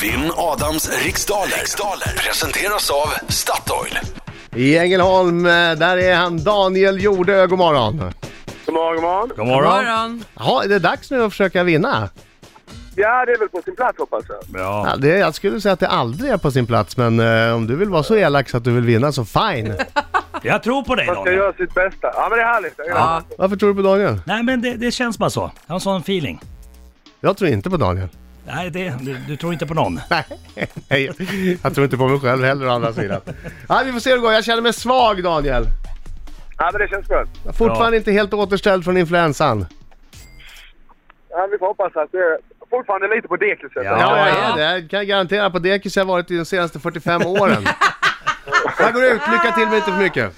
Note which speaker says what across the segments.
Speaker 1: Vinn Adams riksdaler. riksdaler presenteras av Statoil.
Speaker 2: I Ängelholm, eh, där är han Daniel Jordö, god morgon.
Speaker 3: God morgon, god morgon.
Speaker 4: God
Speaker 5: God
Speaker 4: morgon.
Speaker 5: morgon.
Speaker 2: Jaha, är det dags nu att försöka vinna?
Speaker 3: Ja, det är väl på sin plats hoppas jag.
Speaker 4: Ja.
Speaker 2: Ja, det, jag skulle säga att det aldrig är på sin plats, men eh, om du vill vara så elak så att du vill vinna så fine.
Speaker 4: Jag tror på dig
Speaker 3: Man ska
Speaker 4: Daniel.
Speaker 3: göra sitt bästa. Ja, men det är härligt. Jag gillar
Speaker 5: Ja.
Speaker 3: det.
Speaker 2: Varför tror du på Daniel?
Speaker 4: Nej men det, det känns bara så. Jag har en sån feeling.
Speaker 2: Jag tror inte på Daniel.
Speaker 4: Nej, det, du, du tror inte på någon.
Speaker 2: Nej, jag tror inte på mig själv heller å andra sidan. Ja, vi får se hur det går, jag känner mig svag Daniel.
Speaker 3: Ja, men det känns skönt.
Speaker 2: Jag är Fortfarande inte helt återställd från influensan.
Speaker 3: Ja, vi får hoppas att det är fortfarande lite på dekis.
Speaker 4: Ja.
Speaker 2: Ja, jag
Speaker 5: ja.
Speaker 2: är det. Jag kan garantera på dekis har jag varit i de senaste 45 åren. Jag går ut, lycka till men inte för mycket.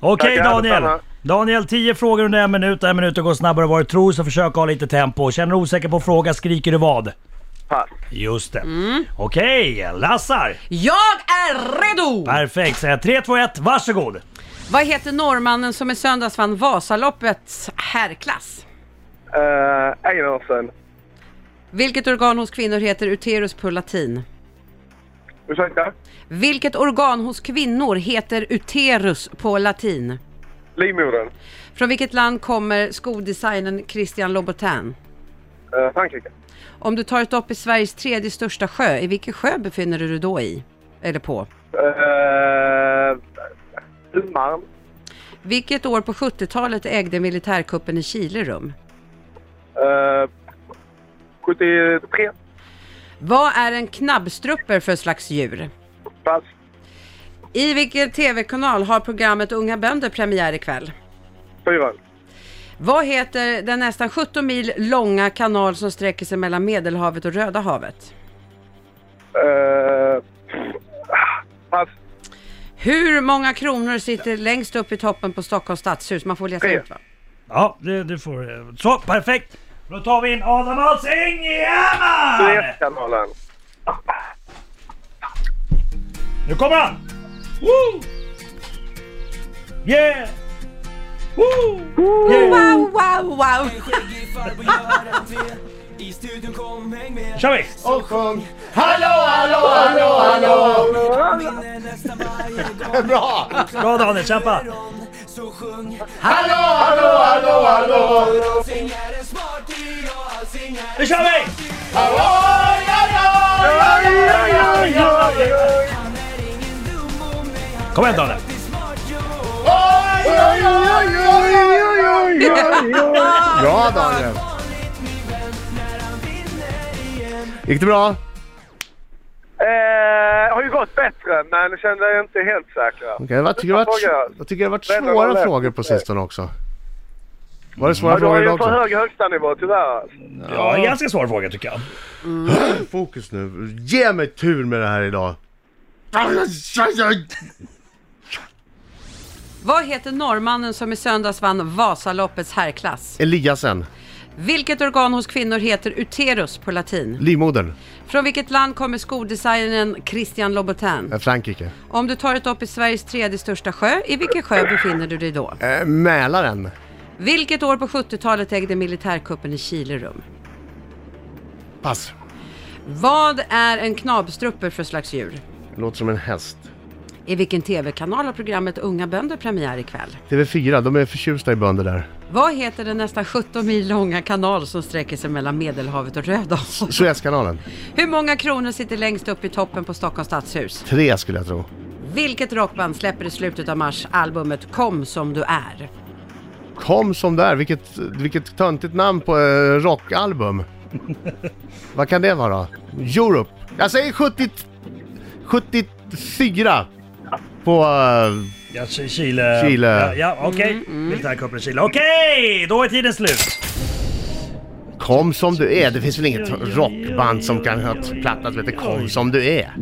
Speaker 4: Okej
Speaker 3: Tackar,
Speaker 4: Daniel.
Speaker 3: detsamma.
Speaker 4: Daniel, 10 frågor under en minut. En minut och går snabbare än vad du tror, så försök ha lite tempo. Känner du osäker på fråga skriker du vad?
Speaker 3: Pass.
Speaker 4: Just det.
Speaker 5: Mm.
Speaker 4: Okej, Lassar.
Speaker 5: Jag är redo!
Speaker 4: Perfekt. Säg 3, 2, 1, varsågod.
Speaker 5: Vad heter norrmannen som i söndags vann Vasaloppets herrklass?
Speaker 3: Uh, Einarsen.
Speaker 5: Vilket organ hos kvinnor heter uterus på latin?
Speaker 3: Ursäkta?
Speaker 5: Vilket organ hos kvinnor heter uterus på latin?
Speaker 3: Livmodern.
Speaker 5: Från vilket land kommer skodesignern Christian Louboutin?
Speaker 3: Eh, Frankrike.
Speaker 5: Om du tar ett dopp i Sveriges tredje största sjö, i vilken sjö befinner du dig då i? Eller på?
Speaker 3: Uh, Humarn.
Speaker 5: Vilket år på 70-talet ägde militärkuppen i Chile rum?
Speaker 3: Eh, 73.
Speaker 5: Vad är en knabbstrupper för slags djur?
Speaker 3: Pass.
Speaker 5: I vilken TV-kanal har programmet Unga bönder premiär ikväll?
Speaker 3: Fyran.
Speaker 5: Vad heter den nästan 17 mil långa kanal som sträcker sig mellan Medelhavet och Röda havet?
Speaker 3: Eh, ah, pass.
Speaker 5: Hur många kronor sitter längst upp i toppen på Stockholms stadshus? Man får läsa
Speaker 3: Tre.
Speaker 5: ut va?
Speaker 4: Ja, det, du får... eh, Så, perfekt. Då tar vi in Adam Alsing i Hammar!
Speaker 3: Suezkanalen.
Speaker 4: Nu kommer han! Woo! Yeah! Woo! Yeah!
Speaker 5: Wow, wow, wow!
Speaker 6: Skäggig farbror gör en te I studion kom häng med
Speaker 4: kör vi!
Speaker 2: Och sjung Hallå, hallå, hallå, hallå!
Speaker 6: Vinner nästan varje gång
Speaker 2: Bra!
Speaker 4: Bra Daniel, kämpa!
Speaker 6: Så sjung
Speaker 2: Hallå, hallå, hallå, hallå!
Speaker 6: Alsing är en smarty och Alsing är
Speaker 4: Nu
Speaker 6: en
Speaker 4: kör vi!
Speaker 6: Han är ingen dum och mig Han
Speaker 4: Kom igen Daniel!
Speaker 6: är smart jo
Speaker 2: Bra Daniel!
Speaker 6: Vanligt min vän När han vinner igen
Speaker 2: Gick det bra?
Speaker 3: Eh, har ju gått bättre, men kände jag inte helt säker.
Speaker 2: Okej, jag, tycker det har varit, jag tycker det har varit
Speaker 3: Vänta, vad
Speaker 2: svåra
Speaker 3: lät?
Speaker 2: frågor på sistone också. Var det svåra
Speaker 3: Du har
Speaker 2: frågor
Speaker 3: ju
Speaker 2: idag
Speaker 3: en för
Speaker 2: också?
Speaker 3: hög högstanivå tyvärr.
Speaker 4: Ja, en ganska svår fråga tycker jag.
Speaker 2: Fokus nu. Ge mig tur med det här idag.
Speaker 5: Vad heter norrmannen som i söndags vann Vasaloppets herrklass?
Speaker 2: Eliasen,
Speaker 5: Vilket organ hos kvinnor heter uterus på latin?
Speaker 2: livmodern,
Speaker 5: Från vilket land kommer skodesignern Christian Louboutin?
Speaker 2: eh, Frankrike.
Speaker 5: Om du tar ett dopp i Sveriges tredje största sjö, i vilken sjö befinner du dig då?
Speaker 2: Eh, Mälaren,
Speaker 5: Vilket år på 70-talet ägde militärkuppen i Chile rum?
Speaker 2: pass.
Speaker 5: Vad är en knabstrupper för slags djur?
Speaker 2: Låter som en häst.
Speaker 5: I vilken TV-kanal har programmet Unga bönder premiär ikväll?
Speaker 2: TV4, de är förtjusta i bönder där.
Speaker 5: Vad heter den nästan 17 mil långa kanal som sträcker sig mellan Medelhavet och Röda havet?
Speaker 2: Suezkanalen,
Speaker 5: Hur många kronor sitter längst upp i toppen på Stockholms stadshus?
Speaker 2: tre skulle jag tro.
Speaker 5: Vilket rockband släpper i slutet av mars albumet Kom som du är?
Speaker 2: Kom som där, vilket, vilket töntigt namn på eh, rockalbum. Vad kan det vara? Europe. Jag säger 70, 74 på... eh,
Speaker 4: Ja, Ch- Chile.
Speaker 2: Chile.
Speaker 4: Ja, ja okej. Militärkuppen i Chile. Okej, då är tiden slut.
Speaker 2: Kom som du är. Det finns väl inget rockband som kan ha en platta som heter Kom som du är?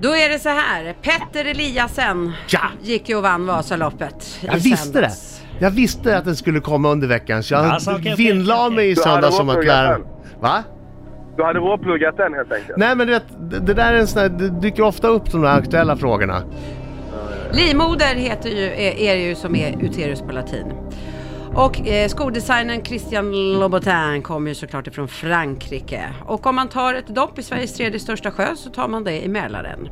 Speaker 5: Då är det så här, Petter Eliasen
Speaker 2: Ja!
Speaker 5: gick ju och vann Vasaloppet i
Speaker 2: Jag visste det!
Speaker 5: söndags.
Speaker 2: Jag visste att den skulle komma under veckan så jag
Speaker 4: Alltså, okej, okej,
Speaker 2: vinnlade
Speaker 4: okej.
Speaker 2: mig i
Speaker 3: Du hade
Speaker 2: söndags
Speaker 3: varit
Speaker 2: om att
Speaker 3: på
Speaker 2: jag...
Speaker 3: Japan.
Speaker 2: Va?
Speaker 3: Du hade råpluggat den helt enkelt.
Speaker 2: Nej men du vet, det- det där är en sån här, det dyker ofta upp de där aktuella frågorna.
Speaker 5: Livmoder heter ju, är, är ju som är uterus på latin. Och eh, skodesignern Christian Louboutin kommer ju såklart ifrån Frankrike. Och om man tar ett dopp i Sveriges tredje största sjö så tar man det i Mälaren.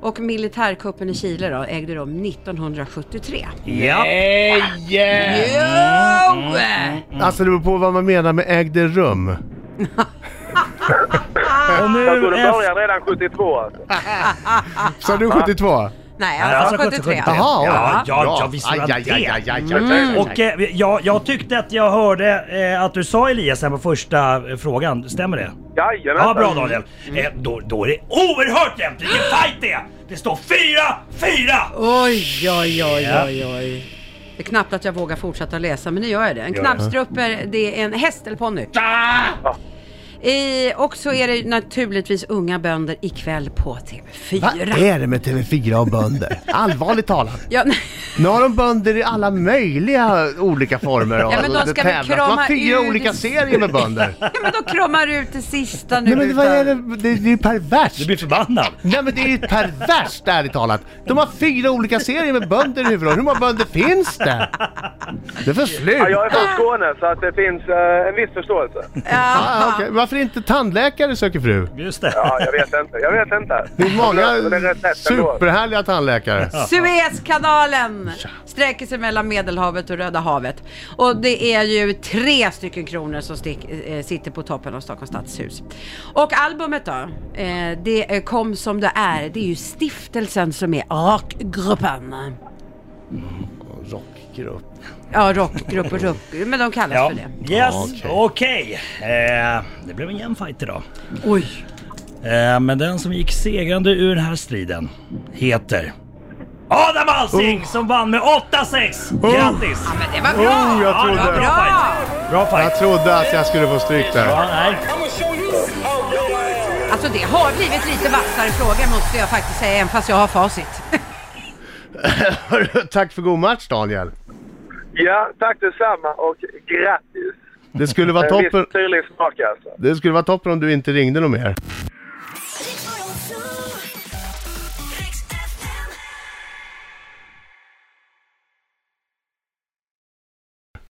Speaker 5: Och militärkuppen i Chile då ägde rum 1973.
Speaker 4: Ja.
Speaker 5: Jo!
Speaker 2: Alltså det beror på vad man menar med ägde rum.
Speaker 4: Och
Speaker 3: Jag tror
Speaker 4: nu...
Speaker 3: det
Speaker 4: F-
Speaker 3: började redan 72 alltså.
Speaker 2: Sa du 72?
Speaker 5: Nej, alltså 73.
Speaker 2: Jaha,
Speaker 4: Ja,
Speaker 2: oj.
Speaker 4: ja,
Speaker 2: Bra.
Speaker 4: ja, visst
Speaker 2: Aj,
Speaker 4: var det.
Speaker 2: aj, aj, aj, aj.
Speaker 4: Och eh, jag, jag tyckte att jag hörde eh, att du sa Elias här på första eh, frågan, stämmer det?
Speaker 3: Jajamensan.
Speaker 4: Ja, bra Daniel. Eh, då, då är det oerhört jämnt! Vilken fight det är! Det står 4-4!
Speaker 5: Oj, oj, oj, oj, oj. Det är knappt att jag vågar fortsätta läsa, men nu gör jag det. En knappstrupper, det är en häst eller ponny.
Speaker 2: Ah!
Speaker 5: I, och så är det naturligtvis Unga bönder ikväll på
Speaker 2: Vad
Speaker 5: TV4.
Speaker 2: är det med TV4 och bönder? Allvarligt talat.
Speaker 5: Ja, nej.
Speaker 2: Nu har de bönder i alla möjliga olika former.
Speaker 5: Ja, men de ska väl
Speaker 2: De
Speaker 5: krama
Speaker 2: har fyra
Speaker 5: ur-
Speaker 2: olika serier med bönder.
Speaker 5: ja, men de kramar ut det sista nu.
Speaker 2: Nej men vad är
Speaker 5: utan-
Speaker 2: det? Det, det är ju
Speaker 4: Du
Speaker 2: perverst.
Speaker 4: blir förbannad.
Speaker 2: Nej men det är ju perverst ärligt talat. De har fyra olika serier med bönder i huvudrollen. Hur många bönder finns det? Det är för slut.
Speaker 3: Ja, jag är från Skåne så att det finns eh, en viss förståelse.
Speaker 2: Ah, okej. Varför inte tandläkare söker fru?
Speaker 4: Just det.
Speaker 3: Ja, jag vet inte. Jag vet inte.
Speaker 2: Det är många
Speaker 3: Det är rätt lätt ändå.
Speaker 2: superhärliga tandläkare.
Speaker 5: Suezkanalen sträcker sig mellan Medelhavet och Röda havet. Och det är ju tre stycken kronor som stick, eh, sitter på toppen av Stockholms stadshus. Och albumet då, eh, det eh, kom som det är. Det är ju stiftelsen som är rockgruppen.
Speaker 2: Rockgrupp.
Speaker 5: Ja, rockgrupp och rock, men de kallas
Speaker 4: Ja.
Speaker 5: för det.
Speaker 4: Yes, okej. Eh, det blev en jämn fight idag.
Speaker 5: Oj.
Speaker 4: Eh, men den som gick segrande ur den här striden heter Adam Alsing som vann med 8-6! Grattis!
Speaker 5: Men det var bra!
Speaker 2: Oh, jag
Speaker 4: Ja, det var
Speaker 2: trodde,
Speaker 4: bra fight. Bra fight.
Speaker 2: jag trodde att jag skulle få stryk där.
Speaker 4: Ja, nej.
Speaker 5: Alltså det har blivit lite vassare frågor måste jag faktiskt säga, även fast jag har facit.
Speaker 2: Tack för god match Daniel.
Speaker 3: Ja, tack detsamma och grattis.
Speaker 2: Det skulle vara
Speaker 3: En viss
Speaker 2: toppen,
Speaker 3: tydlig smak alltså.
Speaker 2: det skulle vara toppen om du inte ringde något mer.